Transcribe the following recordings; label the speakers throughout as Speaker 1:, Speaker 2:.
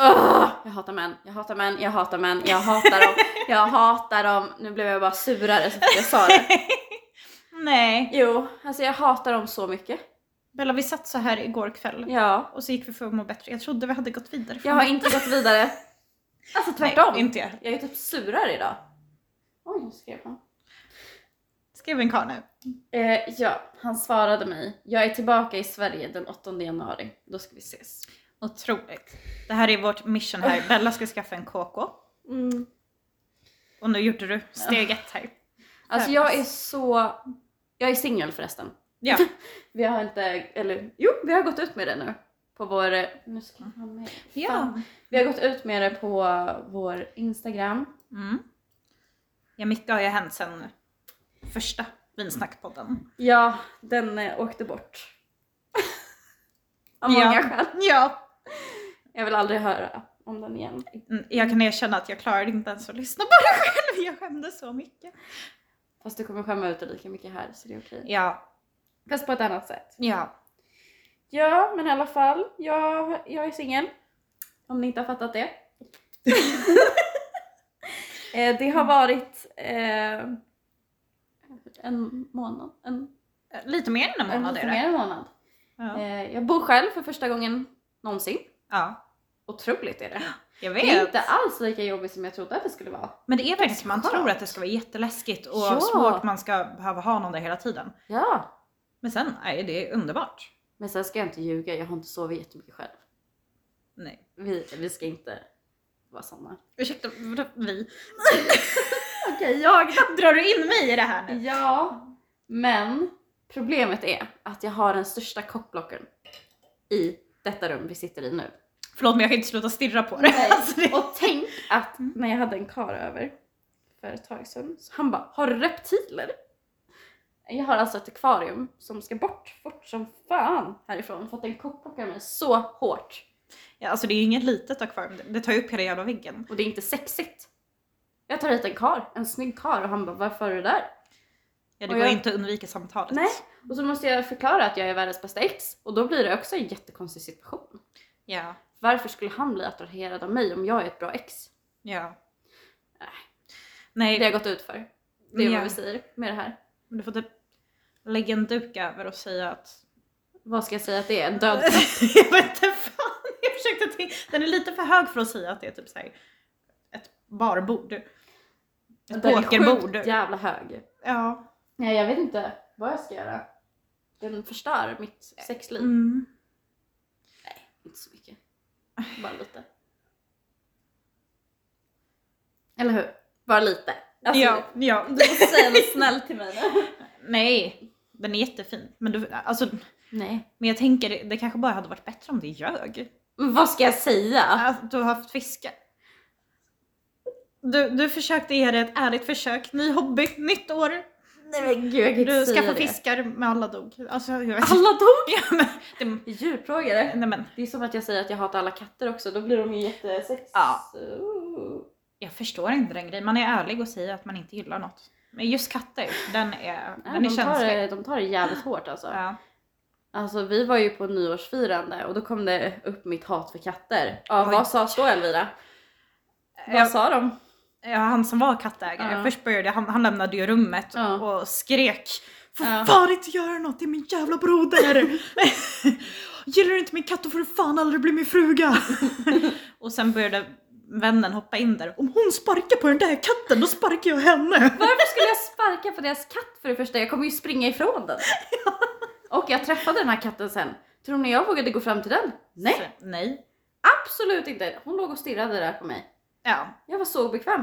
Speaker 1: Ugh, jag hatar män, jag hatar män, jag hatar män, jag hatar dem, jag hatar dem. Nu blev jag bara surare så fort jag sa det.
Speaker 2: Nej.
Speaker 1: Jo, alltså jag hatar dem så mycket.
Speaker 2: Bella, vi satt så här igår kväll
Speaker 1: Ja.
Speaker 2: och så gick vi för att må bättre. Jag trodde vi hade gått vidare. från
Speaker 1: Jag har
Speaker 2: det.
Speaker 1: inte gått vidare. Alltså
Speaker 2: Nej,
Speaker 1: tvärtom.
Speaker 2: inte jag.
Speaker 1: Jag är typ surare idag. Oj, nu skrev han.
Speaker 2: Skrev en karl nu.
Speaker 1: Eh, ja, han svarade mig. Jag är tillbaka i Sverige den 8 januari. Då ska vi ses.
Speaker 2: Otroligt. Det här är vårt mission här. Bella ska skaffa en KK.
Speaker 1: Mm.
Speaker 2: Och nu gjorde du steg ett här.
Speaker 1: Alltså jag är så... Jag är singel förresten.
Speaker 2: Ja.
Speaker 1: Vi har inte... Eller jo, vi har gått ut med det nu. På vår... Nu ska han med.
Speaker 2: ja.
Speaker 1: Vi har gått ut med det på vår Instagram.
Speaker 2: Mm. Ja, mycket har ju hänt sen första vinsnackpodden.
Speaker 1: Ja, den eh, åkte bort. Av många
Speaker 2: Ja.
Speaker 1: skäl.
Speaker 2: Ja.
Speaker 1: Jag vill aldrig höra om den igen.
Speaker 2: Jag kan erkänna att jag klarade inte ens att lyssna på det själv. Jag skämdes så mycket.
Speaker 1: Fast du kommer skämma ut dig lika mycket här så det är okej.
Speaker 2: Ja.
Speaker 1: Fast på ett annat sätt.
Speaker 2: Ja.
Speaker 1: Ja, men i alla fall. Jag, jag är singel. Om ni inte har fattat det. eh, det har varit eh, en månad. En,
Speaker 2: Lite mer än en
Speaker 1: en
Speaker 2: månad
Speaker 1: lite
Speaker 2: är
Speaker 1: mer
Speaker 2: det.
Speaker 1: än en månad.
Speaker 2: Ja.
Speaker 1: Eh, jag bor själv för första gången någonsin.
Speaker 2: ja.
Speaker 1: Otroligt är det.
Speaker 2: Jag
Speaker 1: Det är
Speaker 2: vet.
Speaker 1: inte alls lika jobbigt som jag trodde att det skulle vara.
Speaker 2: Men det är verkligen, man
Speaker 1: Skönt.
Speaker 2: tror att det ska vara jätteläskigt och
Speaker 1: Ja.
Speaker 2: svårt, man ska behöva ha någon där hela tiden.
Speaker 1: Ja.
Speaker 2: Men sen är det underbart.
Speaker 1: Men sen ska jag inte ljuga, jag har inte sovit jättemycket själv.
Speaker 2: Nej.
Speaker 1: Vi, vi ska inte vara såna.
Speaker 2: Ursäkta, vadå vi?
Speaker 1: Okej, jag
Speaker 2: Drar du in mig i det här nu?
Speaker 1: Ja, men problemet är att jag har den största kockblocken i detta rum vi sitter i nu.
Speaker 2: Förlåt men jag kan inte sluta stirra på det. Alltså, det...
Speaker 1: Och tänk att när jag hade en karl över för ett tag sedan, så han bara “Har du reptiler?” Jag har alltså ett akvarium som ska bort, fort som fan härifrån för att den kockblockar mig så hårt.
Speaker 2: Ja, alltså det är ju inget litet akvarium, det- det tar ju upp hela jävla väggen.
Speaker 1: Och det är inte sexigt. Jag tar hit en kar, en snygg kar och han bara “Varför är du där?”
Speaker 2: Ja, det
Speaker 1: Och
Speaker 2: går
Speaker 1: jag-
Speaker 2: inte att undvika samtalet.
Speaker 1: Nej. Och så måste jag förklara att jag är världens bästa ex och då blir det också en jättekonstig situation.
Speaker 2: Ja,
Speaker 1: Varför skulle han bli attraherad av mig om jag är ett bra ex?
Speaker 2: ja.
Speaker 1: Nej.
Speaker 2: Nej,
Speaker 1: Det har jag gått ut för. Det är
Speaker 2: Ja.
Speaker 1: vad vi säger med det här.
Speaker 2: men du får typ lägga en duk över och säga att...
Speaker 1: Vad ska jag säga att det är? En död
Speaker 2: jag vet inte fan, jag försökte tänka. Den är lite för hög för att säga att det är typ så här ett barbord. Ett
Speaker 1: Den är
Speaker 2: pokerbord.
Speaker 1: sjukt jävla hög.
Speaker 2: Ja.
Speaker 1: Nej jag vet inte vad jag ska göra. Den förstör mitt sexliv.
Speaker 2: Mm.
Speaker 1: Inte så mycket. Bara lite. Eller hur? Bara lite. Alltså,
Speaker 2: ja, ja.
Speaker 1: Du måste säga något snällt till mig nu.
Speaker 2: Nej, den är jättefin. Men, du, alltså,
Speaker 1: Nej.
Speaker 2: men jag tänker, det kanske bara hade varit bättre om det ljög.
Speaker 1: Men vad ska jag säga?
Speaker 2: Alltså, du har haft fiske. Du, du försökte ge det ett ärligt försök. Ny hobby, nytt år.
Speaker 1: Nej men gud jag kan
Speaker 2: Du
Speaker 1: inte säga
Speaker 2: skaffar
Speaker 1: det.
Speaker 2: fiskar med alla dog. Alltså, jag vet
Speaker 1: Alla dog!
Speaker 2: Ja, men, det,
Speaker 1: Djurplågare.
Speaker 2: nej men,
Speaker 1: Det är som att jag säger att jag hatar alla katter också, då blir de ju jättesex...
Speaker 2: Ja.
Speaker 1: Ooh.
Speaker 2: jag förstår inte den grejen. Man är ärlig och säger att man inte gillar något. Men just katter, den är,
Speaker 1: Nej,
Speaker 2: den är
Speaker 1: de, tar
Speaker 2: känslig.
Speaker 1: det, de tar det jävligt hårt alltså.
Speaker 2: Ja.
Speaker 1: Alltså vi var ju på nyårsfirande och då kom det upp mitt hat för katter. Ja,
Speaker 2: Oj.
Speaker 1: vad sa så Elvira? Vad
Speaker 2: Jag-
Speaker 1: sa de?
Speaker 2: Ja, han som var kattägare.
Speaker 1: Ja.
Speaker 2: Först började han, han lämnade ju rummet
Speaker 1: Ja.
Speaker 2: och skrek. Får
Speaker 1: Ja.
Speaker 2: fan inte göra något, det är min jävla broder! Gillar du inte min katt då får du fan aldrig bli min fruga! och sen började vännen hoppa in där. Om hon sparkar på den där katten då sparkar jag henne!
Speaker 1: Varför skulle jag sparka på deras katt för det första? Jag kommer ju springa ifrån den. Och jag träffade den här katten sen. Tror ni jag vågade gå fram till den? Nej,
Speaker 2: Så, nej.
Speaker 1: absolut inte. Hon låg och stirrade där på mig.
Speaker 2: Ja.
Speaker 1: Jag var så obekväm.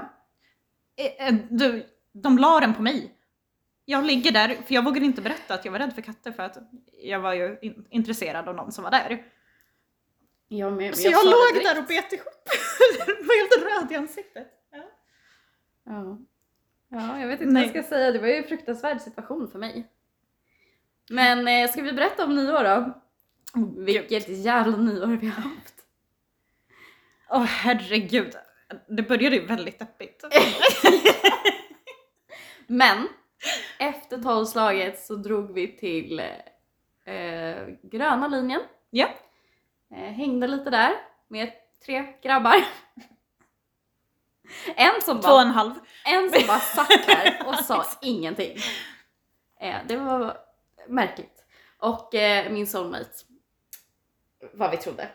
Speaker 2: Eh, eh, Du, de la den på mig. Jag ligger där, för jag vågade inte berätta att jag var rädd för katter för att jag var ju in- intresserad av någon som var där.
Speaker 1: Alltså, Jag, men,
Speaker 2: Så jag,
Speaker 1: sa det
Speaker 2: låg
Speaker 1: direkt.
Speaker 2: där och bet ihop. var helt röd i ansiktet.
Speaker 1: Ja. ja, jag vet inte
Speaker 2: Nej.
Speaker 1: vad jag ska säga. Det var ju en fruktansvärd situation för mig. Men eh, ska vi berätta om nyår då?
Speaker 2: Oh,
Speaker 1: Vilket jävla nyår vi har haft.
Speaker 2: Åh herregud. Det började ju väldigt deppigt.
Speaker 1: Men efter tolvslaget så drog vi till eh, gröna linjen.
Speaker 2: Ja.
Speaker 1: Eh, hängde lite där med tre grabbar. En som
Speaker 2: Två och
Speaker 1: bara,
Speaker 2: en halv.
Speaker 1: en som bara satt där och sa ingenting. Eh, det var märkligt. Och eh, min soulmate. Vad vi trodde.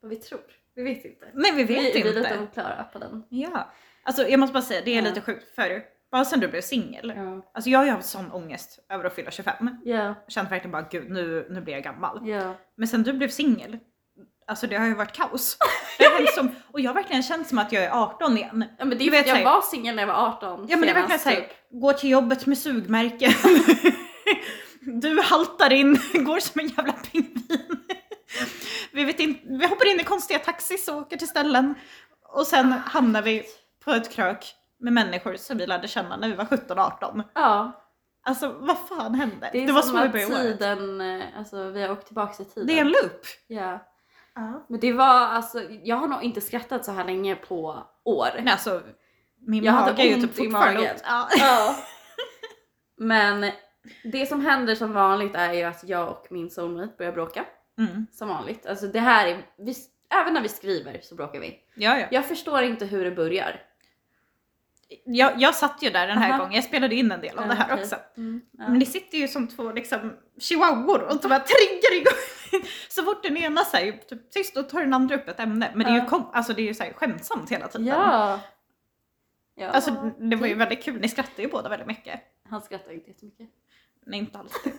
Speaker 1: Vad vi tror. Vi vet inte.
Speaker 2: Nej vi vet
Speaker 1: vi,
Speaker 2: inte.
Speaker 1: vi är lite oklara på den.
Speaker 2: Ja. Alltså jag måste bara säga, det är
Speaker 1: Ja.
Speaker 2: lite sjukt för bara sen du blev singel.
Speaker 1: Ja.
Speaker 2: Alltså jag har ju haft sån ångest över att fylla 25.
Speaker 1: Ja.
Speaker 2: Jag kände verkligen bara gud nu, nu blir jag gammal.
Speaker 1: ja.
Speaker 2: Men sen du blev singel, alltså det har ju varit kaos. Det har varit som, och jag har verkligen känt som att jag är 18 igen.
Speaker 1: Ja men det är
Speaker 2: Du
Speaker 1: ju för
Speaker 2: vet,
Speaker 1: att jag
Speaker 2: såhär-
Speaker 1: var singel när jag var 18
Speaker 2: Ja men det är verkligen
Speaker 1: senast,
Speaker 2: såhär,
Speaker 1: typ.
Speaker 2: gå till jobbet med sugmärken. Du haltar in, går som en jävla pingvin. Vi, vet inte, vi hoppar in i konstiga taxis och åker till ställen. Och sen hamnar vi på ett krök med människor som vi lärde känna när vi var 17-18.
Speaker 1: Ja,
Speaker 2: Alltså vad fan hände?
Speaker 1: det är
Speaker 2: Det, var
Speaker 1: som
Speaker 2: så vi
Speaker 1: att
Speaker 2: började året.
Speaker 1: tiden, eh, alltså vi har åkt tillbaka i tiden.
Speaker 2: Det är en loop.
Speaker 1: Ja. Men det var alltså, jag har nog inte skrattat så här länge på år.
Speaker 2: Nej, alltså, min
Speaker 1: Jag hade
Speaker 2: mage är ju
Speaker 1: ont
Speaker 2: typ
Speaker 1: i
Speaker 2: fortfarande
Speaker 1: magen.
Speaker 2: ont. Ja.
Speaker 1: Ja. Men det som händer som vanligt är ju att jag och min soulmate börjar bråka.
Speaker 2: Mm.
Speaker 1: Som vanligt. Alltså det här är, vi, även när vi skriver så bråkar vi.
Speaker 2: Ja, ja.
Speaker 1: Jag förstår inte hur det börjar.
Speaker 2: Jag, jag satt ju där den här
Speaker 1: Aha.
Speaker 2: gången, jag spelade in en del av det här
Speaker 1: Ja, okej.
Speaker 2: också.
Speaker 1: Mm, ja.
Speaker 2: Men typ ni sitter ju som två liksom, chihuahuor och de bara triggar igång. Så fort den ena säger typ, tyst då tar den andra upp ett ämne. Men det är ju,
Speaker 1: Ja.
Speaker 2: kom, alltså, det är ju så här, skämtsamt hela tiden.
Speaker 1: Ja. ja.
Speaker 2: Alltså, det var ju väldigt kul, ni skrattade ju båda väldigt mycket.
Speaker 1: Han skrattade inte
Speaker 2: Mm.
Speaker 1: jättemycket.
Speaker 2: Nej inte alls det.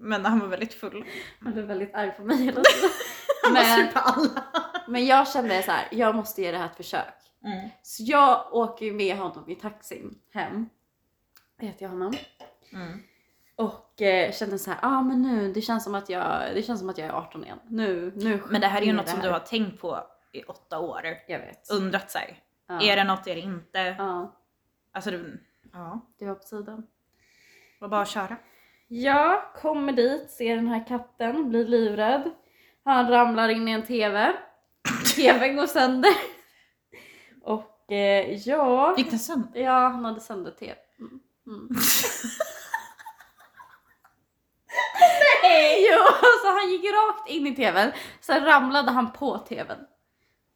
Speaker 2: Men han var väldigt full.
Speaker 1: Han blev väldigt arg på mig hela tiden.
Speaker 2: Han var
Speaker 1: Men-
Speaker 2: sur på alla.
Speaker 1: Men jag kände så här, jag måste ge det här ett försök. Så jag åker ju med honom i taxin hem. Jag heter jag honom.
Speaker 2: Mm.
Speaker 1: Och eh, kände så här, ja ah, men nu, det känns, som att jag, det känns som att jag är 18 igen. Nu, nu
Speaker 2: Men det här är ju
Speaker 1: sker
Speaker 2: något som
Speaker 1: här.
Speaker 2: du har tänkt på i åtta år.
Speaker 1: Jag vet.
Speaker 2: Undrat sig.
Speaker 1: Ja.
Speaker 2: Är det något, är det inte?
Speaker 1: Ja,
Speaker 2: Alltså, du, ja.
Speaker 1: det var på sidan.
Speaker 2: Var bara att köra.
Speaker 1: Jag kommer dit, ser den här katten, blir livrädd. Han ramlar in i en TV. TVn går sönder. Och eh, ja...
Speaker 2: Gick den sönder?
Speaker 1: Ja, han hade sönder-tv. Mm. Mm. Nej! Jo, så han gick rakt in i tvn, sen ramlade han på tvn.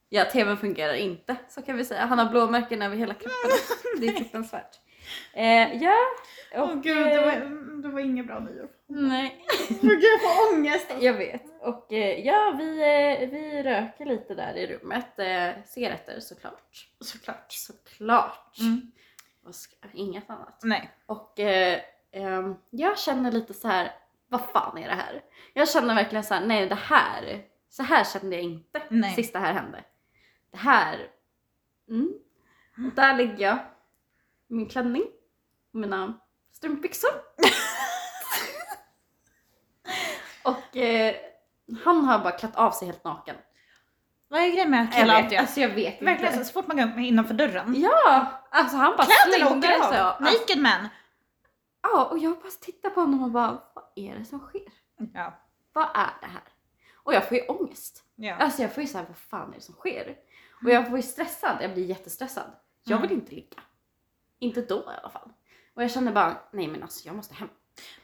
Speaker 1: Ja, tvn fungerar inte, så kan vi säga. Han har blåmärken över hela kroppen. det är fruktansvärt. Eh, ja.
Speaker 2: Åh
Speaker 1: och,
Speaker 2: gud, det
Speaker 1: eh,
Speaker 2: var, mm, det var inget bra nyår.
Speaker 1: Nej,
Speaker 2: Åh gud, jag får ångest.
Speaker 1: jag vet. Och eh, ja, vi, eh, vi röker lite där i rummet. Eh, cigaretter såklart.
Speaker 2: Såklart.
Speaker 1: Såklart.
Speaker 2: Mm.
Speaker 1: Och ska, inget annat.
Speaker 2: Nej.
Speaker 1: Och eh, ehm, jag känner lite så här, vad fan är det här? Jag känner verkligen så här, nej det här, så här kände jag inte
Speaker 2: Nej.
Speaker 1: sist det här hände. Det här, mm. Och där ligger jag, i min klänning, och mina strumpbyxor. och eh, han har bara klätt av sig helt naken.
Speaker 2: Vad är grejen med
Speaker 1: Jag
Speaker 2: killar
Speaker 1: vet,
Speaker 2: alltid?
Speaker 1: Alltså jag vet inte.
Speaker 2: Verkligen så, så fort man går innanför dörren.
Speaker 1: Ja, alltså han bara
Speaker 2: Kläderna
Speaker 1: slängde
Speaker 2: åker av.
Speaker 1: sig. av.
Speaker 2: Naked man.
Speaker 1: Ja, och jag bara tittar på honom och bara, vad är det som sker?
Speaker 2: Ja.
Speaker 1: Vad är det här? Och jag får ju ångest.
Speaker 2: ja.
Speaker 1: Alltså jag får ju såhär, vad fan är det som sker? Och jag får ju stressad, jag blir jättestressad. Jag vill inte ligga. Inte då i alla fall. Och jag känner bara, nej men alltså jag måste hem.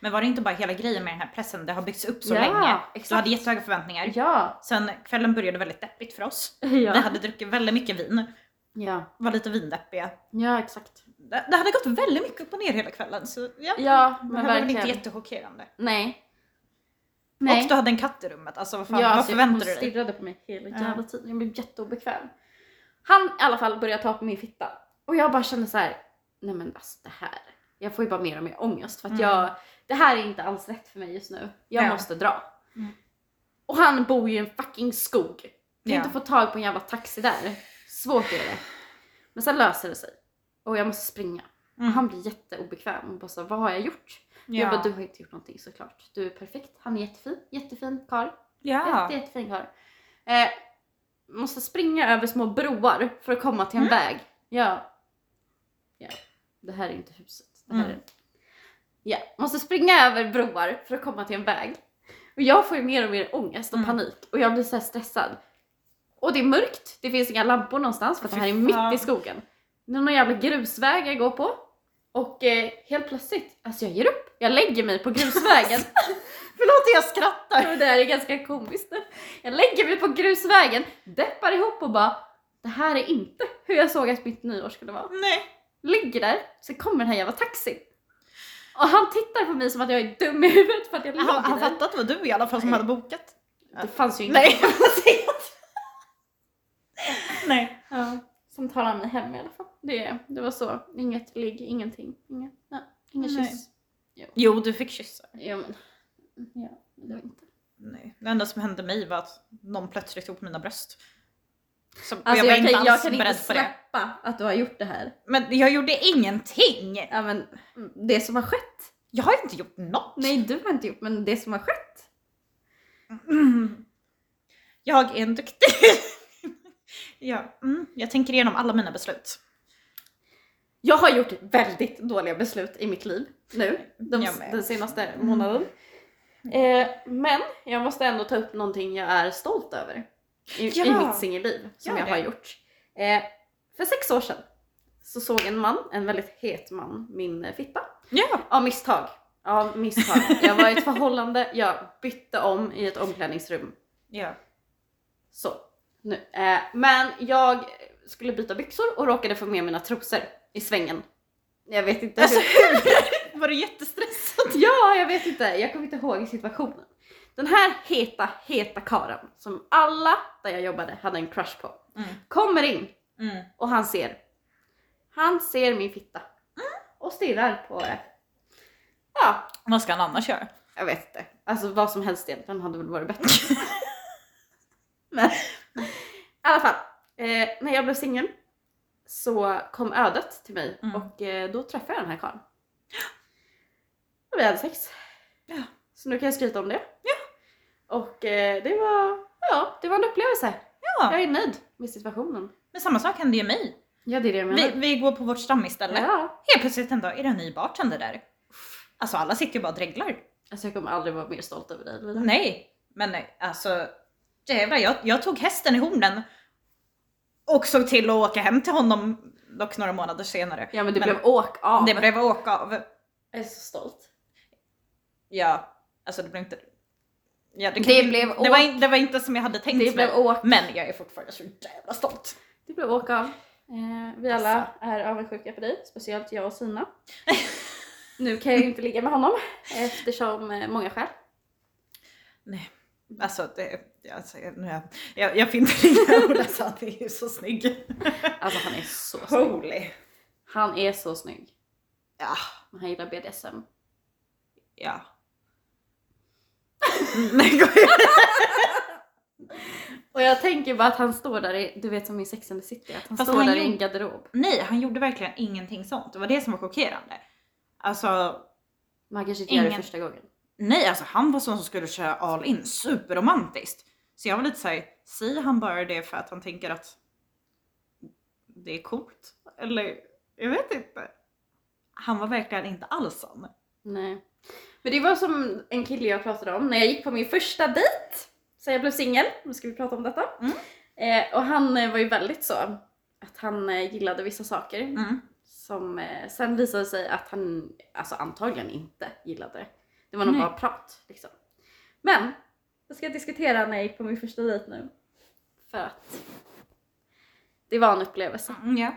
Speaker 2: Men var det inte bara hela grejen med den här pressen? Det har byggts upp så
Speaker 1: Ja,
Speaker 2: länge. Du
Speaker 1: exakt.
Speaker 2: hade jättehöga förväntningar.
Speaker 1: Ja.
Speaker 2: Sen kvällen började väldigt deppigt för oss. Vi
Speaker 1: Ja.
Speaker 2: hade druckit väldigt mycket vin.
Speaker 1: Ja.
Speaker 2: Var lite vindeppiga.
Speaker 1: ja, exakt.
Speaker 2: Det, det hade gått väldigt mycket upp och ner hela kvällen. Så ja.
Speaker 1: Ja,
Speaker 2: det
Speaker 1: men
Speaker 2: här var väl inte
Speaker 1: verkligen.
Speaker 2: jättechockerande.
Speaker 1: Nej.
Speaker 2: Nej. Och du hade en katt i rummet. Alltså vad fan, vad
Speaker 1: alltså,
Speaker 2: förväntar
Speaker 1: hon
Speaker 2: du dig?
Speaker 1: stirrade på mig hela
Speaker 2: Ja.
Speaker 1: jävla tiden. Jag blev jätteobekväm. Han i alla fall började ta på min fitta. Och jag bara kände så här, nej men alltså det här. Jag får ju bara mer och mer ångest för att
Speaker 2: Mm.
Speaker 1: jag, det här är inte alls rätt för mig just nu. Jag
Speaker 2: Ja.
Speaker 1: måste dra.
Speaker 2: Mm.
Speaker 1: Och han bor ju i en fucking skog. Kan
Speaker 2: Ja.
Speaker 1: inte få tag på en jävla taxi där. Svårt är det. Men sen löser det sig. Och jag måste springa.
Speaker 2: Mm.
Speaker 1: Han blir jätteobekväm och bara så, här, vad har jag gjort? Jag bara, du har inte gjort någonting såklart. Du är perfekt. Han är jättefin. Jättefin karl.
Speaker 2: ja.
Speaker 1: Jätte, jättefin karl. Eh, måste springa över små broar för att komma till en
Speaker 2: Mm.
Speaker 1: väg. Ja. ja. Det här är inte huset. Det här
Speaker 2: Mm.
Speaker 1: är... Ja. Måste springa över broar för att komma till en väg. Och jag får ju mer och mer ångest och
Speaker 2: Mm.
Speaker 1: panik och jag blir så här stressad. Och det är mörkt, det finns inga lampor någonstans för att det
Speaker 2: Fy
Speaker 1: här är
Speaker 2: fan.
Speaker 1: mitt i skogen. Det är någon jävla grusväg jag går på. Och eh, helt plötsligt, alltså jag ger upp. Jag lägger mig på grusvägen.
Speaker 2: Förlåt jag skrattar.
Speaker 1: Och det här är ganska komiskt. Jag lägger mig på grusvägen, deppar ihop och bara Det här är inte hur jag såg att mitt nyår skulle vara.
Speaker 2: Nej.
Speaker 1: Ligger där, så kommer den här jävla taxin. Och han tittar på mig som att jag är dum i huvudet för att jag ligger
Speaker 2: Han, han
Speaker 1: där.
Speaker 2: fattade att det var du i alla fall som
Speaker 1: Nej.
Speaker 2: hade bokat.
Speaker 1: Det fanns ju ingen
Speaker 2: Nej. Nej.
Speaker 1: ja, som talade mig hem i alla fall. Det, det var så. Inget ligg, ingenting. Inget, nej, ingen
Speaker 2: Nej.
Speaker 1: kyss.
Speaker 2: Jo, du fick kyssa.
Speaker 1: Ja men. Ja, men det var inte.
Speaker 2: Nej. Det enda som hände mig var att någon plötsligt tog på mina bröst. Så
Speaker 1: Alltså,
Speaker 2: jag
Speaker 1: jag,
Speaker 2: var inte
Speaker 1: kan,
Speaker 2: alls
Speaker 1: jag kan inte
Speaker 2: beredd på det.
Speaker 1: släppa att du har gjort det här.
Speaker 2: Men jag gjorde ingenting!
Speaker 1: Ja, men, det som har skett
Speaker 2: Jag har inte gjort något!
Speaker 1: Nej, du har inte gjort, men det som har skett.
Speaker 2: Mm. Jag är en duktig. ja, mm. Jag tänker igenom alla mina beslut.
Speaker 1: Jag har gjort väldigt dåliga beslut i mitt liv nu, de,
Speaker 2: Jag med. Mm.
Speaker 1: den senaste månaden. Eh, men jag måste ändå ta upp någonting jag är stolt över i, i
Speaker 2: Ja.
Speaker 1: mitt singelliv som
Speaker 2: Gör
Speaker 1: jag
Speaker 2: det.
Speaker 1: har gjort. Eh, för sex år sedan så såg en man, en väldigt het man, min eh, fitta.
Speaker 2: Ja!
Speaker 1: Av misstag. Av misstag. Jag var i ett förhållande, jag bytte om i ett omklädningsrum
Speaker 2: ja.
Speaker 1: Så. Nu. Eh, men jag skulle byta byxor och råkade få med mina trosor i svängen. Jag vet inte
Speaker 2: Alltså
Speaker 1: hur.
Speaker 2: hur? Var du jättestressad?
Speaker 1: Ja, jag vet inte. Jag kommer inte ihåg situationen. Den här heta, heta karen som alla där jag jobbade hade en crush på.
Speaker 2: Mm.
Speaker 1: Kommer in
Speaker 2: Mm.
Speaker 1: och han ser. Han ser min fitta.
Speaker 2: Mm.
Speaker 1: Och stirrar på det. Ja,
Speaker 2: Vad ska han annars göra?
Speaker 1: jag vet inte. Alltså vad som helst egentligen hade väl varit bättre. Men i alla fall. Eh, när jag blev singel så kom ödet till mig
Speaker 2: Mm.
Speaker 1: och eh, då träffade jag den här karln. Och vi hade sex.
Speaker 2: Ja.
Speaker 1: Så nu kan jag skryta om det. Och eh, det var, ja, det var en upplevelse.
Speaker 2: Ja.
Speaker 1: Jag är nöjd med situationen.
Speaker 2: Men samma sak hände ju mig.
Speaker 1: Ja, det är det jag menar.
Speaker 2: Vi, vi går på vårt stammisställe.
Speaker 1: Mm. ja.
Speaker 2: Helt plötsligt en dag är det en ny bartender där. Alltså alla sitter ju bara och dreglar.
Speaker 1: Alltså jag kommer aldrig vara mer stolt över dig. Elvira.
Speaker 2: Nej, men nej, alltså jävlar, jag, jag tog hästen i hornen och såg till att åka hem till honom dock några månader senare.
Speaker 1: Ja men det
Speaker 2: Men-
Speaker 1: blev åk av.
Speaker 2: Det blev åka av.
Speaker 1: Jag är så stolt.
Speaker 2: Ja, alltså det blev inte... Ja,
Speaker 1: Det
Speaker 2: kanske-
Speaker 1: blev
Speaker 2: det, var, in- det var inte som jag hade tänkt
Speaker 1: Det
Speaker 2: mig.
Speaker 1: blev åk
Speaker 2: Men jag är fortfarande så jävla stolt.
Speaker 1: Det blev åka av. Eh, vi alla
Speaker 2: Alltså.
Speaker 1: är avundsjuka på dig, speciellt jag och Sina. nu kan jag ju inte ligga med honom eftersom eh, många skäl.
Speaker 2: Alltså, det, alltså jag, nu är jag, jag, jag finner inga ord. Alltså, han är ju så snygg.
Speaker 1: Alltså han är så snygg.
Speaker 2: Holy.
Speaker 1: Han är så snygg.
Speaker 2: Ja.
Speaker 1: Men han gillar BDSM.
Speaker 2: Ja. Nej, går
Speaker 1: Och jag tänker bara att han står där i, du vet som i Sex and the City, att han
Speaker 2: Fast
Speaker 1: står
Speaker 2: han
Speaker 1: där i
Speaker 2: gjorde-
Speaker 1: en garderob.
Speaker 2: Nej, han gjorde verkligen ingenting sånt. Det var det som var chockerande. Alltså,
Speaker 1: Man kanske inte gör det
Speaker 2: Ingen-
Speaker 1: första gången.
Speaker 2: nej, alltså han var sån som skulle köra all in. Superromantiskt. Så jag var lite såhär, säger han bara det för att han tänker att det är coolt? Eller, jag vet inte. Han var verkligen inte alls sån.
Speaker 1: Nej. Men det var som en kille jag pratade om när jag gick på min första dejt. Så jag blev singel, nu ska vi prata om detta.
Speaker 2: Mm.
Speaker 1: Eh, och han eh, var ju väldigt så att han eh, gillade vissa saker
Speaker 2: Mm.
Speaker 1: som eh, sen visade sig att han alltså, antagligen inte gillade. Det var nog
Speaker 2: Nej.
Speaker 1: bara prat liksom. Men jag ska diskutera när jag gick på min första dejt nu. För att det var en upplevelse.
Speaker 2: Mm, ja.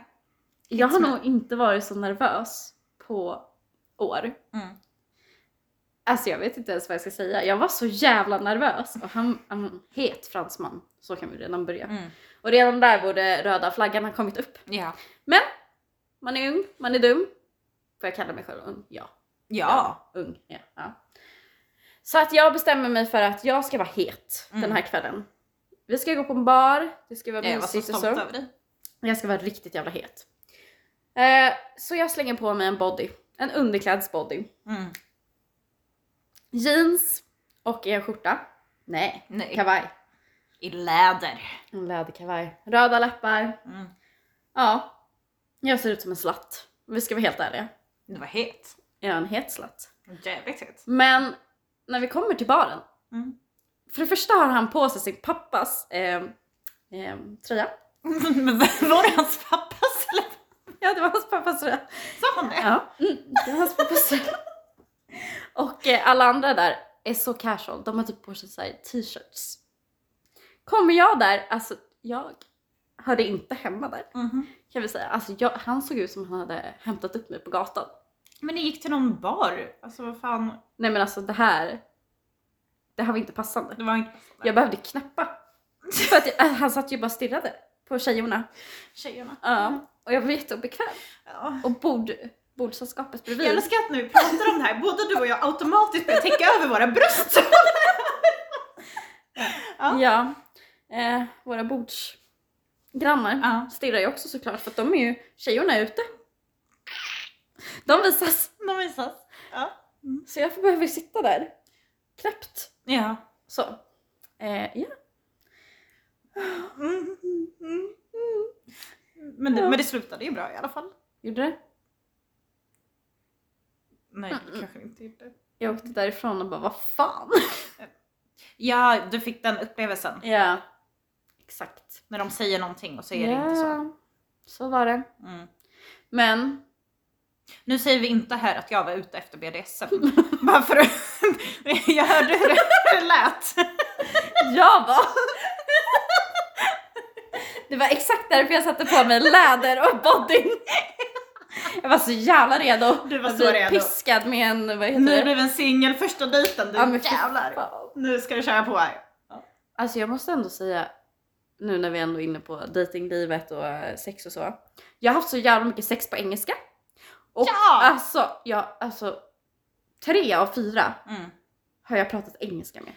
Speaker 1: Jag har
Speaker 2: Som-
Speaker 1: nog inte varit så nervös på år.
Speaker 2: Mm.
Speaker 1: Alltså jag vet inte ens vad jag ska säga. Jag var så jävla nervös. Och han, han het fransman. Så kan vi redan börja.
Speaker 2: Mm.
Speaker 1: Och redan där borde röda flaggan ha kommit upp.
Speaker 2: Ja.
Speaker 1: Man är ung, man är dum. Får jag kalla mig själv ung? Ja.
Speaker 2: Ja.
Speaker 1: Ung, ja. ja. Så att jag bestämmer mig för att jag ska vara het
Speaker 2: Mm.
Speaker 1: den här kvällen. Vi ska gå på en bar, det ska vara
Speaker 2: Jag var så
Speaker 1: mysigt och
Speaker 2: stolt
Speaker 1: så.
Speaker 2: över dig.
Speaker 1: Jag ska vara riktigt jävla het. Eh, så jag slänger på mig en body. En underklädsbody.
Speaker 2: Mm.
Speaker 1: Jeans och en skjorta. Nej,
Speaker 2: Nej.
Speaker 1: kavaj.
Speaker 2: I läder.
Speaker 1: En läderkavaj. Röda läppar.
Speaker 2: Mm.
Speaker 1: Ja, jag ser ut som en slatt. Vi ska vara helt ärliga.
Speaker 2: Du var het.
Speaker 1: Jag är en het slatt.
Speaker 2: Jävligt het.
Speaker 1: Men när vi kommer till baren
Speaker 2: Mm.
Speaker 1: För det första har han på sig sin pappas eh, eh, tröja.
Speaker 2: Men var det hans pappas eller?
Speaker 1: Ja, det var hans pappas tröja.
Speaker 2: Sa han det?
Speaker 1: Ja, mm, det var hans pappas tröja. Och eh, alla andra där är så casual. De har typ på sig så här t-shirts. Kommer jag där, alltså jag hörde inte hemma där
Speaker 2: Mhm.
Speaker 1: kan vi säga. Alltså jag, han såg ut som han hade hämtat upp mig på gatan.
Speaker 2: Men ni gick till någon bar? Alltså vad fan,
Speaker 1: Nej men alltså det här, det här var inte passande.
Speaker 2: det var inte...
Speaker 1: Jag behövde knäppa. För att jag, han satt ju bara och stirrade på tjejorna.
Speaker 2: Tjejerna.
Speaker 1: Ja, och jag blev jätteobekväm.
Speaker 2: Ja.
Speaker 1: Och bord, bordsällskapet bredvid.
Speaker 2: Jag älskar att när vi pratar om det här, både du och jag automatiskt börjar täcka över våra bröst. ja.
Speaker 1: Ja. Eh, våra bordsgrannar
Speaker 2: Ja.
Speaker 1: stirrar ju också såklart för att de är ju, tjejorna är ute. De visas.
Speaker 2: De visas. Ja.
Speaker 1: Så jag får- behöver sitta där. Knäppt.
Speaker 2: Ja.
Speaker 1: Så. Eh, ja.
Speaker 2: Mm, mm, mm. Men, det,
Speaker 1: Ja.
Speaker 2: men det slutade ju bra i alla fall.
Speaker 1: Gjorde det.
Speaker 2: Nej,
Speaker 1: Mm, mm.
Speaker 2: kanske inte gjorde.
Speaker 1: Jag åkte därifrån och bara vad fan.
Speaker 2: Ja, du fick den upplevelsen.
Speaker 1: Ja. Exakt.
Speaker 2: När de säger någonting och så är det inte så.
Speaker 1: Ja, Så var det.
Speaker 2: Mm.
Speaker 1: Men
Speaker 2: Nu säger vi inte här att jag var ute efter BDSM. Bara för att... jag hörde hur det, hur det lät.
Speaker 1: jag var... Det var exakt därför jag satte på mig läder och bodding. Jag var så jävla redo.
Speaker 2: Du var
Speaker 1: jag
Speaker 2: så
Speaker 1: blev
Speaker 2: redo.
Speaker 1: piskad med en, vad heter
Speaker 2: Nu
Speaker 1: det?
Speaker 2: blev en singel första dejten, du
Speaker 1: Ja, men fy
Speaker 2: jävlar.
Speaker 1: fan.
Speaker 2: Nu ska du köra på här.
Speaker 1: Alltså jag måste ändå säga, nu när vi ändå är inne på datinglivet och eh, sex och så. Jag har haft så jävla mycket sex på engelska. Och
Speaker 2: Ja!
Speaker 1: alltså, jag, alltså, tre av fyra
Speaker 2: Mm.
Speaker 1: har jag pratat engelska med.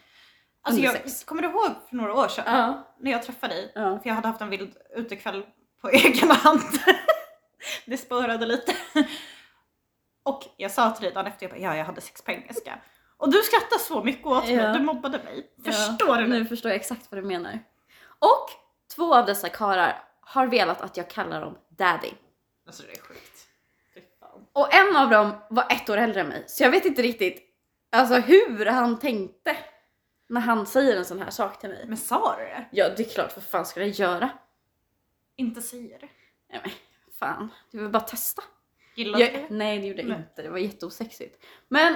Speaker 2: Alltså
Speaker 1: Under
Speaker 2: jag,
Speaker 1: sex.
Speaker 2: kommer du ihåg för några år sedan
Speaker 1: Ja.
Speaker 2: när jag träffade dig?
Speaker 1: ja.
Speaker 2: För jag hade haft en vild utekväll på egen hand. det spårade lite. Och jag sa till dig dagen efter, jag bara, ja jag hade sex på engelska. Och du skrattade så mycket åt mig,
Speaker 1: Ja.
Speaker 2: du mobbade mig. Förstår du?
Speaker 1: Nu förstår jag exakt vad du menar. Och två av dessa karlar har velat att jag kallar dem daddy.
Speaker 2: Alltså det är sjukt. Fy fan.
Speaker 1: Och en av dem var ett år äldre än mig. Så jag vet inte riktigt alltså, hur han tänkte när han säger en sån här sak till mig.
Speaker 2: Men sa du det?
Speaker 1: Ja, det är klart, vad fan ska jag göra?
Speaker 2: Inte säger det.
Speaker 1: Nej men fan, du vill bara testa.
Speaker 2: Gillade
Speaker 1: Jag,
Speaker 2: du
Speaker 1: nej det gjorde jag
Speaker 2: Nej.
Speaker 1: inte, det var jätteosexigt. Men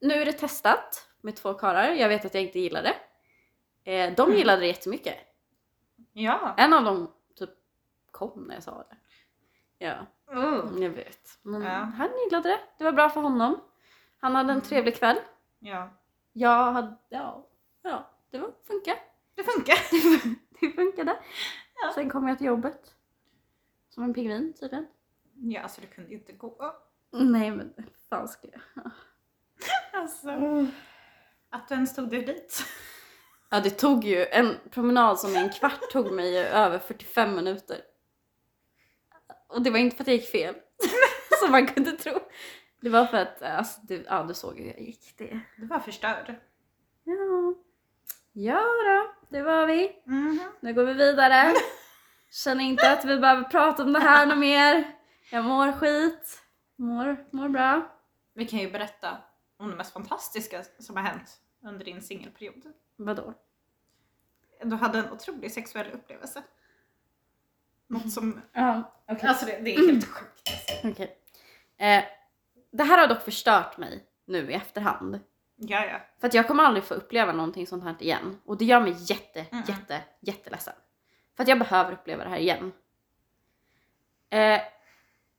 Speaker 1: nu är det testat med två karlar, jag vet att jag inte gillar det. Eh, de
Speaker 2: Mm.
Speaker 1: gillade det jättemycket.
Speaker 2: det? Ja.
Speaker 1: En av dem typ kom när jag sa det. Ja,
Speaker 2: Mm.
Speaker 1: jag vet. Men
Speaker 2: Ja.
Speaker 1: han gillade det, det var bra för honom. Han hade en
Speaker 2: Mm.
Speaker 1: trevlig kväll.
Speaker 2: Ja.
Speaker 1: Jag hade, ja, ja det var, funkar.
Speaker 2: Det funkar.
Speaker 1: Det funkade.
Speaker 2: Ja.
Speaker 1: Sen kom jag till jobbet. Som en pingvin tydligen.
Speaker 2: Ja alltså det kunde ju inte gå.
Speaker 1: Nej men fan ska jag?
Speaker 2: Alltså. Att du ens tog dig dit.
Speaker 1: Ja det tog ju, en promenad som är en kvart tog mig ju över 45 minuter. Och det var inte för att jag gick fel, som man kunde tro. Det var för att, eh, alltså du, ja, du såg hur jag gick det.
Speaker 2: Du var förstörd.
Speaker 1: Ja. ja då, det var vi.
Speaker 2: Mhm.
Speaker 1: Nu går vi vidare. Känner inte att vi behöver prata om det här något mer. Jag mår skit. Mår, mår bra.
Speaker 2: Vi kan ju berätta om det mest fantastiska som har hänt under din singelperiod.
Speaker 1: Vadå?
Speaker 2: Du hade en otrolig sexuell upplevelse. Något som...
Speaker 1: Ja, okej.
Speaker 2: Mm. Alltså det, det är helt sjukt. alltså.
Speaker 1: Okej. Eh, det här har dock förstört mig nu i efterhand.
Speaker 2: Ja, ja.
Speaker 1: För att jag kommer aldrig få uppleva någonting sånt här igen. Och det gör mig jätte,
Speaker 2: Mm.
Speaker 1: jätte, jätteledsen. För att jag behöver uppleva det här igen. Eh,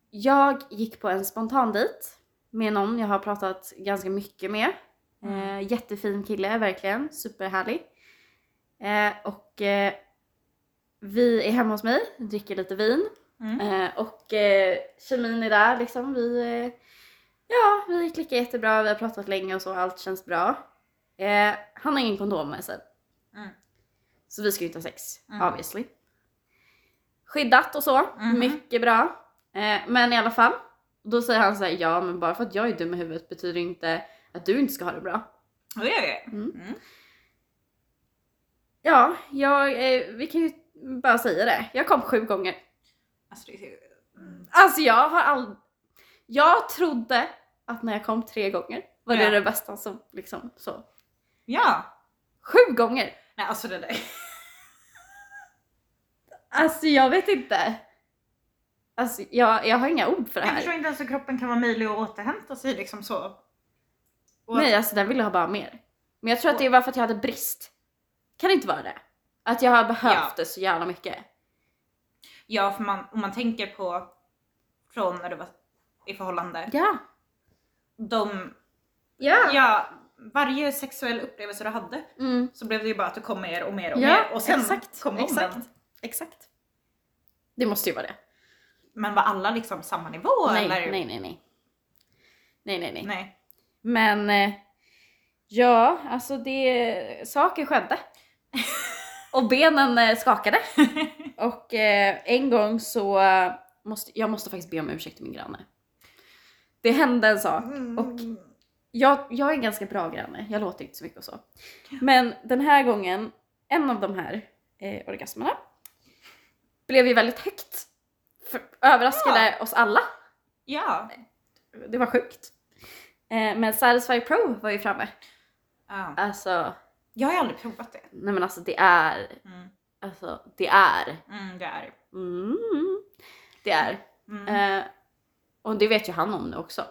Speaker 1: jag gick på en spontan dejt med någon jag har pratat ganska mycket med. Eh,
Speaker 2: Mm.
Speaker 1: jättefin kille, verkligen. Superhärlig. Eh, och eh, vi är hemma hos mig, dricker lite vin.
Speaker 2: Mm.
Speaker 1: Eh, och eh, kemin är där liksom. Vi, eh, ja, vi klickar jättebra, vi har pratat länge och så, allt känns bra. Eh, han har ingen kondom med sig.
Speaker 2: Mm.
Speaker 1: Så vi ska ju inte ha sex,
Speaker 2: Mm.
Speaker 1: obviously. Skyddat och så,
Speaker 2: Mhm.
Speaker 1: mycket bra. Eh, men i alla fall, då säger han så här, ja men bara för att jag är dum i huvudet betyder inte att du inte ska ha det bra.
Speaker 2: Oj, oj, oj.
Speaker 1: Mm.
Speaker 2: Mm.
Speaker 1: Ja, jag, eh, vi kan ju bara säga det. Jag kom sju gånger.
Speaker 2: Alltså det är ju... Mm.
Speaker 1: Alltså jag har aldrig... Jag trodde att när jag kom tre gånger var det
Speaker 2: Ja.
Speaker 1: det bästa som liksom så.
Speaker 2: Ja!
Speaker 1: Sju gånger!
Speaker 2: Nej alltså det där.
Speaker 1: Alltså jag vet inte. Alltså jag, jag har inga ord för det
Speaker 2: Jag
Speaker 1: här.
Speaker 2: förstår inte ens hur kroppen kan vara möjlig att återhämta sig liksom så. Och
Speaker 1: Nej, alltså den ville ha bara mer. Men jag tror att det var för att jag hade brist. Kan det inte vara det? Att jag har behövt
Speaker 2: Ja.
Speaker 1: det så jävla mycket.
Speaker 2: Ja, för man, om man tänker på från när du var i förhållande.
Speaker 1: Ja.
Speaker 2: De,
Speaker 1: Ja.
Speaker 2: ja, varje sexuell upplevelse du hade
Speaker 1: Mm.
Speaker 2: så blev det ju bara att det kom mer och mer och
Speaker 1: Ja,
Speaker 2: mer och sen
Speaker 1: exakt,
Speaker 2: kom
Speaker 1: exakt.
Speaker 2: den.
Speaker 1: Exakt. Det måste ju vara det.
Speaker 2: Men var alla liksom samma nivå
Speaker 1: nej,
Speaker 2: eller?
Speaker 1: nej, nej, nej. Nej, nej, nej.
Speaker 2: nej.
Speaker 1: Men eh, ja, alltså det, saker skedde. Och benen eh, skakade. Och eh, en gång så, eh, måste, jag måste faktiskt be om ursäkt till min granne. Det hände en sak. Och
Speaker 2: Mm.
Speaker 1: jag, jag är en ganska bra granne, jag låter inte så mycket och så. Men den här gången, en av de här eh, orgasmerna blev ju väldigt högt. För, överraskade oss alla.
Speaker 2: Ja.
Speaker 1: Det var sjukt. Eh, men Satisfy Pro var ju framme.
Speaker 2: ja.
Speaker 1: Alltså,
Speaker 2: Jag har ju aldrig provat det.
Speaker 1: nej men alltså det är,
Speaker 2: Mm.
Speaker 1: alltså det är,
Speaker 2: Mm, det är.
Speaker 1: mm, det är.
Speaker 2: Mm.
Speaker 1: Eh, och det vet ju han om nu också.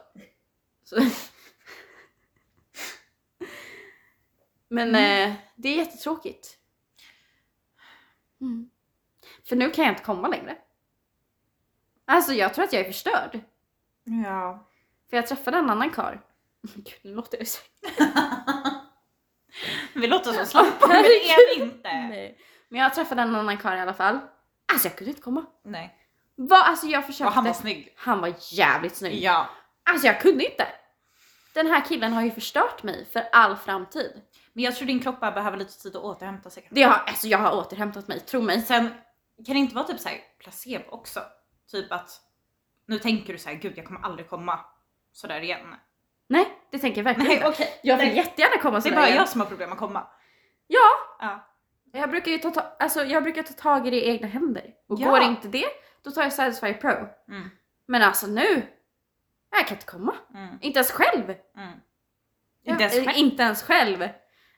Speaker 1: Så. Men
Speaker 2: Mm.
Speaker 1: eh, det är jättetråkigt. Mm. För nu kan jag inte komma längre. Alltså jag tror att jag är förstörd.
Speaker 2: Ja.
Speaker 1: För jag träffade en annan karl. Gud, nu låter jag så
Speaker 2: Vi låter så slappa, men det är vi
Speaker 1: herregud.
Speaker 2: inte.
Speaker 1: Nej. Men jag träffade en annan karl i alla fall. Alltså jag kunde inte komma.
Speaker 2: Nej.
Speaker 1: Va? Alltså jag försökte.
Speaker 2: Och han var snygg.
Speaker 1: Han var jävligt snygg.
Speaker 2: Ja.
Speaker 1: Alltså jag kunde inte. Den här killen har ju förstört mig för all framtid.
Speaker 2: Men jag tror din kropp bara behöver lite tid att återhämta sig.
Speaker 1: Det har, alltså jag har återhämtat mig, tro mig.
Speaker 2: Sen kan det inte vara typ så här placebo också? Typ att nu tänker du så här, gud jag kommer aldrig komma sådär igen.
Speaker 1: Nej, det tänker jag verkligen
Speaker 2: Nej
Speaker 1: inte.
Speaker 2: okej.
Speaker 1: Jag vill
Speaker 2: Nej,
Speaker 1: jättegärna komma
Speaker 2: Det är
Speaker 1: sådär
Speaker 2: bara
Speaker 1: igen.
Speaker 2: jag som har problem att komma.
Speaker 1: Ja,
Speaker 2: Ja.
Speaker 1: jag brukar ju ta, ta, alltså jag brukar ta tag i det i egna händer. Och
Speaker 2: Ja.
Speaker 1: går inte det, då tar jag Satisfy Pro.
Speaker 2: Mm,
Speaker 1: Men alltså nu, jag kan inte komma.
Speaker 2: mm,
Speaker 1: Inte ens själv.
Speaker 2: mm.
Speaker 1: Jag,
Speaker 2: Inte ens
Speaker 1: eh,
Speaker 2: själv.
Speaker 1: Inte ens själv.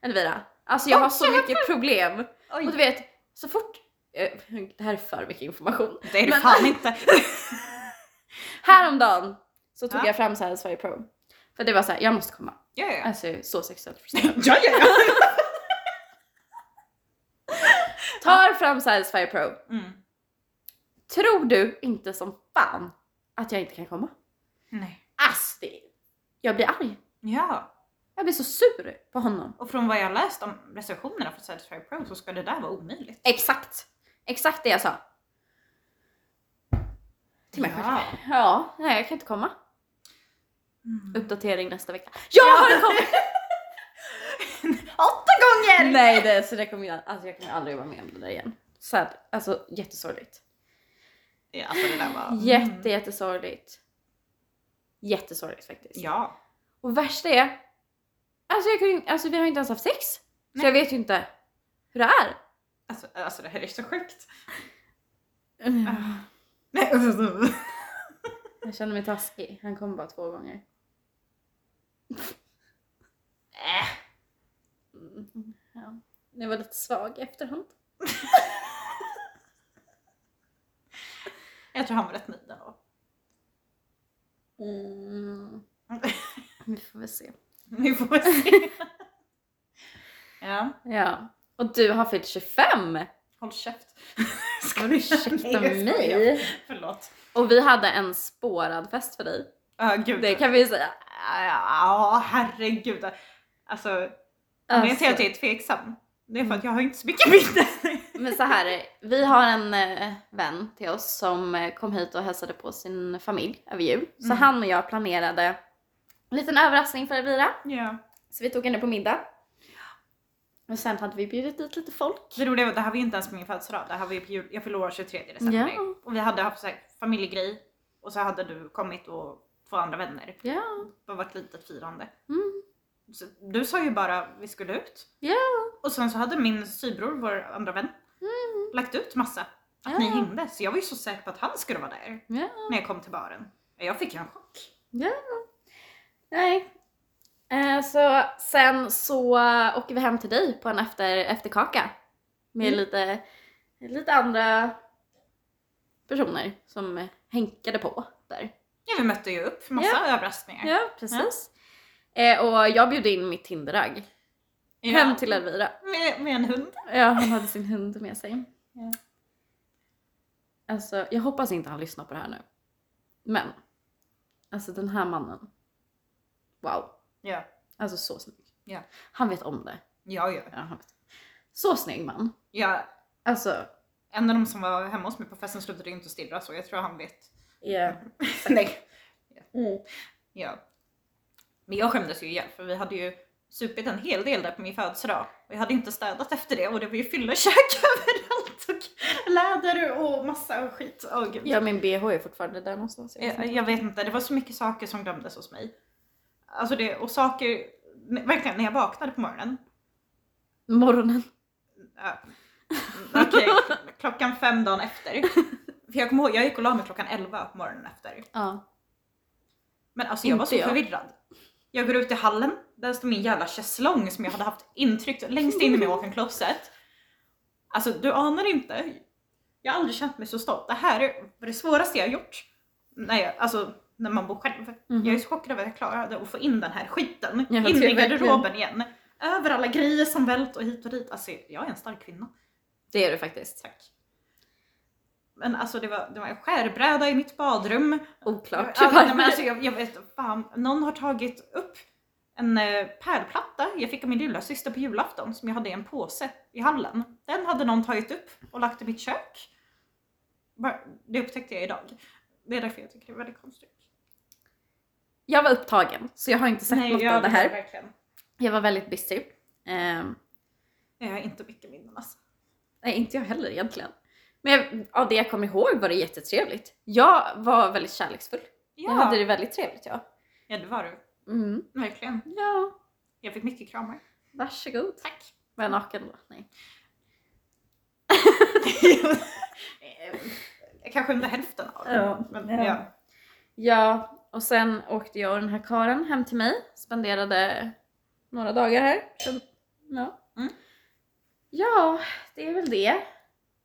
Speaker 1: Elvira. Alltså jag har så mycket problem. Och du
Speaker 2: Oj,
Speaker 1: vet, så fort... eh, Det här är för mycket information.
Speaker 2: det är det
Speaker 1: men-
Speaker 2: fan inte.
Speaker 1: Häromdagen så tog
Speaker 2: Ja.
Speaker 1: jag fram Satisfy Pro. För det var så här, jag måste komma.
Speaker 2: Ja, ja,
Speaker 1: Alltså jag är så sexuellt frustrerad.
Speaker 2: ja. ja, ja.
Speaker 1: Tar fram Satisfy Pro.
Speaker 2: Mm.
Speaker 1: Tror du inte som fan att jag inte kan komma?
Speaker 2: Nej.
Speaker 1: Alltså det... Jag blir arg.
Speaker 2: Ja,
Speaker 1: Jag blir så sur på honom.
Speaker 2: och från vad jag läst om recensionerna för Satisfy Pro så ska det där vara omöjligt.
Speaker 1: Exakt. Exakt det jag sa. Till mig själv.
Speaker 2: Ja.
Speaker 1: Ja, nej jag kan inte komma.
Speaker 2: Mm.
Speaker 1: Uppdatering nästa vecka. Jag har kommit!
Speaker 2: Åtta gånger!
Speaker 1: Nej, det, så det kommer jag, alltså jag kommer aldrig vara med om det där igen. Sad, alltså jättesorgligt.
Speaker 2: Ja, alltså det där var...
Speaker 1: Jätte, jättesorgligt. Jättesorgligt faktiskt.
Speaker 2: Ja.
Speaker 1: Och värst är, alltså, jag kunde, alltså vi har inte ens haft sex.
Speaker 2: Nej.
Speaker 1: Så jag vet ju inte hur det är.
Speaker 2: Alltså, alltså det här är så sjukt.
Speaker 1: Mm.
Speaker 2: Ah. Nej.
Speaker 1: Alltså, Jag känner mig taskig, han kom bara två gånger. Äh. Mm. Ja. Jag var lite svag i efterhand.
Speaker 2: Jag tror han var rätt nöjd ändå.
Speaker 1: Mm. Vi får väl se.
Speaker 2: Vi får se. ja,
Speaker 1: Ja. Och du har fyllt 25!
Speaker 2: håll käft.
Speaker 1: Ska du ursäkta
Speaker 2: Nej, jag skojar.
Speaker 1: mig?
Speaker 2: Förlåt.
Speaker 1: Och vi hade en spårad fest för dig.
Speaker 2: Ja, gud.
Speaker 1: Det kan vi ju säga.
Speaker 2: Ja, herregud. Alltså, när
Speaker 1: Alltså-
Speaker 2: jag säger att jag är tveksam, det är för att
Speaker 1: Mm.
Speaker 2: jag har inte så mycket minnen.
Speaker 1: Men så här, eh, vi har en eh, vän till oss som eh, kom hit och hälsade på sin familj över jul. Så
Speaker 2: Mm.
Speaker 1: han och jag planerade en liten överraskning för Elvira.
Speaker 2: ja.
Speaker 1: Så vi tog henne på middag. Och sen hade vi bjudit dit lite folk.
Speaker 2: Det roliga var att det här var ju inte ens på min födelsedag. Det här var ju på jul, jag fyllde år 23 december.
Speaker 1: Ja.
Speaker 2: Och vi hade haft så här familjegrej och så hade du kommit och två andra vänner.
Speaker 1: Ja.
Speaker 2: Det var ett litet firande.
Speaker 1: Mm.
Speaker 2: Så du sa ju bara vi skulle ut.
Speaker 1: Ja.
Speaker 2: Och sen så hade min sybror, vår andra vän, lagt ut massa. Att ni
Speaker 1: Mm. Ja.
Speaker 2: hängde. Så jag var ju så säker på att han skulle vara där
Speaker 1: Ja.
Speaker 2: när jag kom till baren. Jag fick ju en chock.
Speaker 1: Nej. Eh, så sen så eh, åker vi hem till dig på en efter, efterkaka. Med
Speaker 2: Mm.
Speaker 1: lite, lite andra personer som eh, hänkade på där.
Speaker 2: Ja, vi mötte ju upp för massa överraskningar.
Speaker 1: Ja, precis. Eh, och jag bjöd in mitt Tinderagg
Speaker 2: Ja.
Speaker 1: hem till Elvira.
Speaker 2: Med, med en hund.
Speaker 1: Ja, han hade sin hund med sig.
Speaker 2: Ja.
Speaker 1: Alltså, jag hoppas inte han lyssnar på det här nu. Men, alltså den här mannen. Wow.
Speaker 2: Ja.
Speaker 1: Alltså så snygg.
Speaker 2: Ja.
Speaker 1: Han vet om det.
Speaker 2: Ja, ja.
Speaker 1: Ja, han vet. Så snygg man.
Speaker 2: ja.
Speaker 1: Alltså,
Speaker 2: En av de som var hemma hos mig på festen slutade ju inte stirra så jag tror han vet.
Speaker 1: yeah.
Speaker 2: Nej.
Speaker 1: mm.
Speaker 2: Ja. Men jag skämdes ju ihjäl för vi hade ju supit en hel del där på min födelsedag. Och jag hade inte städat efter det och det var ju fyllekäk överallt och läder och massa skit. Åh gud.
Speaker 1: ja min bh är fortfarande där någonstans. Jag vet
Speaker 2: Jag,
Speaker 1: inte.
Speaker 2: jag vet inte, det var så mycket saker som glömdes hos mig. Alltså det, och saker, verkligen när jag vaknade på morgonen.
Speaker 1: Morgonen.
Speaker 2: Ja. Okej, klockan fem dagen efter. För jag kommer ihåg, jag gick och la mig klockan elva på morgonen efter.
Speaker 1: Ja.
Speaker 2: Men alltså jag var så
Speaker 1: Inte jag.
Speaker 2: förvirrad. Jag går ut i hallen, där står min jävla schäslong som jag hade haft intryckt längst in i min walk-in closet. Alltså du anar inte. Jag har aldrig känt mig så stolt. Det här var det svåraste jag gjort. När jag, alltså när man bor själv.
Speaker 1: Mhm.
Speaker 2: Jag är så chockad över att jag klarade att få in den här skiten.
Speaker 1: Ja,
Speaker 2: in i
Speaker 1: verkligen.
Speaker 2: garderoben igen. Över alla grejer som vält och hit och dit. Alltså jag är en stark kvinna.
Speaker 1: Det är du faktiskt.
Speaker 2: Tack. Men alltså det var, det var en skärbräda i mitt badrum.
Speaker 1: Oklart.
Speaker 2: Ja, nej, men alltså, jag, jag vet fan, någon har tagit upp en eh, pärlplatta jag fick av min lilla syster på julafton som jag hade i en påse i hallen. Den hade någon tagit upp och lagt i mitt kök. Bara- Det upptäckte jag idag. Det är därför jag tycker det är väldigt konstigt.
Speaker 1: Jag var upptagen så jag har inte sett något av det här.
Speaker 2: verkligen.
Speaker 1: Jag var väldigt busy. Ehm,
Speaker 2: Jag har inte mycket minnen alltså.
Speaker 1: Nej, inte jag heller egentligen. Men jag, av det jag kommer ihåg var det jättetrevligt. Jag var väldigt kärleksfull.
Speaker 2: Ja,
Speaker 1: Jag hade det väldigt trevligt, ja.
Speaker 2: ja det var du.
Speaker 1: Mm.
Speaker 2: Verkligen.
Speaker 1: Ja,
Speaker 2: Jag fick mycket kramar.
Speaker 1: varsågod.
Speaker 2: Tack.
Speaker 1: Var jag naken då? Nej.
Speaker 2: Eh, Kanske under hälften av det.
Speaker 1: Ja,
Speaker 2: Men,
Speaker 1: ja.
Speaker 2: ja.
Speaker 1: Ja, och sen åkte jag och den här karen hem till mig. Spenderade några dagar här. Sen, ja.
Speaker 2: Mm.
Speaker 1: ja, det är väl det.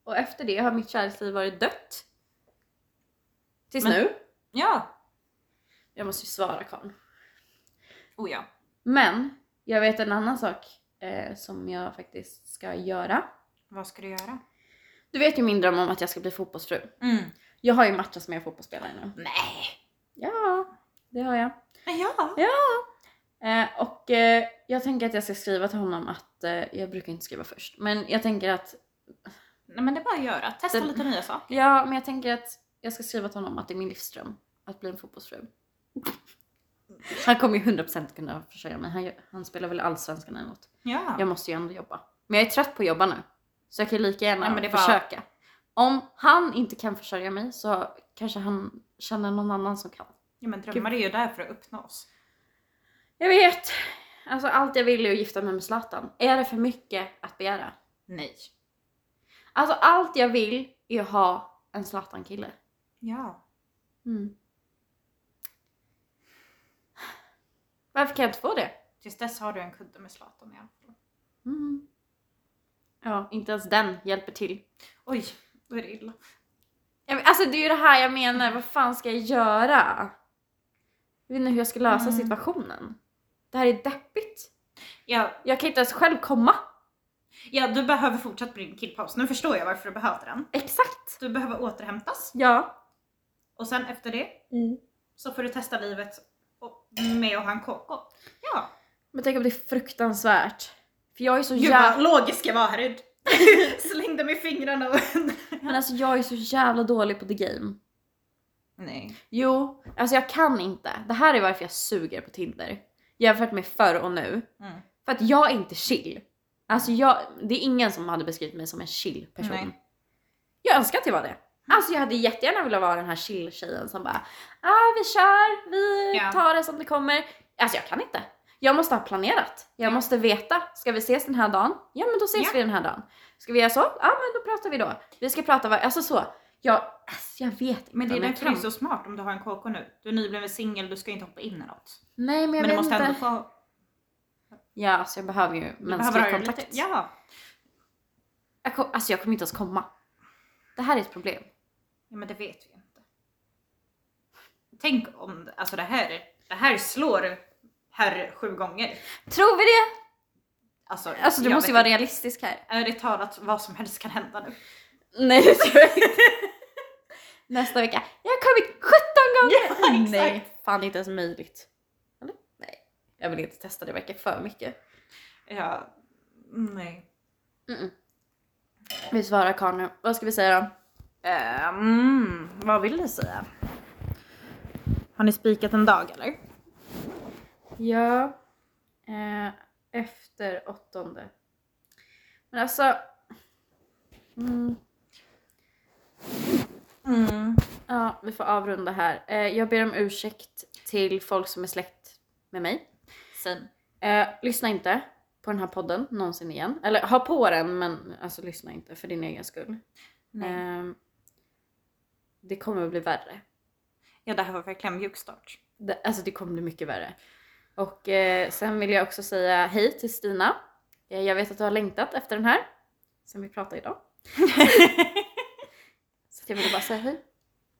Speaker 1: Och efter det har mitt kärleksliv varit dött. Tills
Speaker 2: Men-
Speaker 1: nu.
Speaker 2: ja.
Speaker 1: Jag måste ju svara karln.
Speaker 2: Oh ja.
Speaker 1: Men jag vet en annan sak eh, som jag faktiskt ska göra.
Speaker 2: Vad ska du göra? Mm.
Speaker 1: Du vet ju min dröm om att jag ska bli fotbollsfru. Jag har ju matchats med en fotbollsspelare nu.
Speaker 2: Nej!
Speaker 1: Ja, det har jag.
Speaker 2: Men ja!
Speaker 1: Eh, och eh, jag tänker att jag ska skriva till honom att, eh, jag brukar inte skriva först, men jag tänker att,
Speaker 2: Nej men det är bara att göra. Testa
Speaker 1: Det-
Speaker 2: lite nya saker.
Speaker 1: ja men jag tänker att jag ska skriva till honom att det är min livsdröm att bli en fotbollsfru. Han kommer ju 100% kunna försörja mig, han, gör- han spelar väl allsvenskan eller något.
Speaker 2: Ja.
Speaker 1: Jag måste ju ändå jobba. Men jag är trött på att jobba nu. Så jag kan ju lika gärna
Speaker 2: Ja, men det är bara-
Speaker 1: försöka. Om han inte kan försörja mig så kanske han känner någon annan som kan.
Speaker 2: ja men drömmar är ju där för att uppnås.
Speaker 1: Jag vet! Alltså allt jag vill är att gifta mig med Zlatan. Är det för mycket att begära?
Speaker 2: Nej.
Speaker 1: Alltså allt jag vill är att ha en Zlatan-kille.
Speaker 2: Ja.
Speaker 1: Mm. Varför kan jag inte få det?
Speaker 2: Tills dess har du en kudde med Zlatan i alla fall.
Speaker 1: Mm. Ja, inte ens den hjälper till.
Speaker 2: Oj, då är det illa.
Speaker 1: Jag vet- Alltså det är ju det här jag menar, vad fan ska jag göra? Jag vet inte hur jag ska lösa
Speaker 2: Mm.
Speaker 1: situationen. Det här är deppigt.
Speaker 2: Ja,
Speaker 1: Jag kan inte ens själv komma.
Speaker 2: ja, du behöver fortsatt på din killpaus. Nu förstår jag varför du behöver den.
Speaker 1: Exakt!
Speaker 2: Du behöver återhämtas
Speaker 1: Ja.
Speaker 2: och sen efter det så får du testa livet och- med att ha en KK. Ja.
Speaker 1: Men tänk om det är fruktansvärt. För jag är så
Speaker 2: Gud
Speaker 1: jävla...
Speaker 2: vad logisk jag var här. Slängde med fingrarna och...
Speaker 1: Men alltså jag är så jävla dålig på the game.
Speaker 2: Nej.
Speaker 1: Jo, alltså jag kan inte. Det här är varför jag suger på Tinder. Jämfört med förr och nu.
Speaker 2: Mm.
Speaker 1: För att jag är inte chill. Alltså jag, det är ingen som hade beskrivit mig som en chill person.
Speaker 2: Nej.
Speaker 1: Jag önskar att jag var det. Alltså jag hade jättegärna velat vara den här chill-tjejen som bara ah, vi kör, vi
Speaker 2: Ja.
Speaker 1: tar det som det kommer. Alltså jag kan inte. Jag måste ha planerat. Jag måste veta. Ska vi ses den här dagen? Ja men då ses
Speaker 2: Ja.
Speaker 1: vi den här dagen. Ska vi göra så? Ja men då pratar vi då. Vi ska prata var- alltså så. Jag, alltså jag vet inte
Speaker 2: Men det är
Speaker 1: om jag
Speaker 2: därför det är
Speaker 1: kan.
Speaker 2: så smart om du har en KK nu. Du är nybliven singel, du ska inte hoppa in i något.
Speaker 1: Nej men jag
Speaker 2: Men du
Speaker 1: vet
Speaker 2: måste
Speaker 1: inte.
Speaker 2: ändå få
Speaker 1: Ja, alltså jag behöver ju
Speaker 2: Du behöver ha
Speaker 1: mänsklig
Speaker 2: ju
Speaker 1: kontakt.
Speaker 2: Lite, ja.
Speaker 1: jag kom, alltså jag kommer inte ens komma. Det här är ett problem.
Speaker 2: ja, men det vet vi inte. Tänk om, alltså det här, det här slår herr sju gånger.
Speaker 1: Tror vi det?
Speaker 2: Alltså,
Speaker 1: Alltså du
Speaker 2: jag
Speaker 1: måste ju
Speaker 2: vet
Speaker 1: vara realistisk här.
Speaker 2: inte. Ärligt talat, vad som helst kan hända nu.
Speaker 1: Nej, det tror jag inte. Nästa vecka. Jag har kommit 17 gånger!
Speaker 2: Ja, exakt.
Speaker 1: Nej, fan det är inte ens möjligt. Eller? Nej, jag vill inte testa det verkar för mycket.
Speaker 2: Ja, nej.
Speaker 1: Mm-mm. Vi svarar Karl nu. Vad ska vi säga då?
Speaker 2: Ehm, vad vill du säga? Har ni spikat en dag eller?
Speaker 1: Ja, eh, efter åttonde. Men alltså... Mm,
Speaker 2: Mm.
Speaker 1: ja, vi får avrunda här. Eh, jag ber om ursäkt till folk som är släkt med mig.
Speaker 2: Sen.
Speaker 1: Eh, lyssna inte på den här podden någonsin igen. Eller ha på den men alltså lyssna inte för din egen skull.
Speaker 2: Eh,
Speaker 1: Ehm, det kommer att bli värre.
Speaker 2: Ja, det här var verkligen mjuk start.
Speaker 1: Det, alltså det kommer bli mycket värre. Och eh, sen vill jag också säga hej till Stina. Eh, jag vet att du har längtat efter den här. Sen vi pratade idag. Så att jag ville bara säga hej.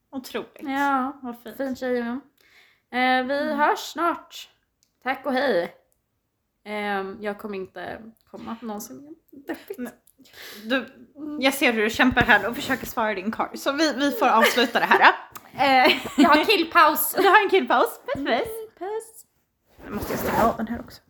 Speaker 2: Otroligt.
Speaker 1: Ja,
Speaker 2: vad fint.
Speaker 1: fin tjej är hon. eh, Vi
Speaker 2: Mm.
Speaker 1: hörs snart. Tack och hej. Ehm, jag kommer inte komma någonsin igen. Deppigt.
Speaker 2: Du, jag ser hur du kämpar här och försöker svara din karl, så vi, vi får avsluta det här. Eh,
Speaker 1: Jag har killpaus.
Speaker 2: du har en killpaus. Puss puss.
Speaker 1: Puss.
Speaker 2: Nu måste jag stänga av den här också.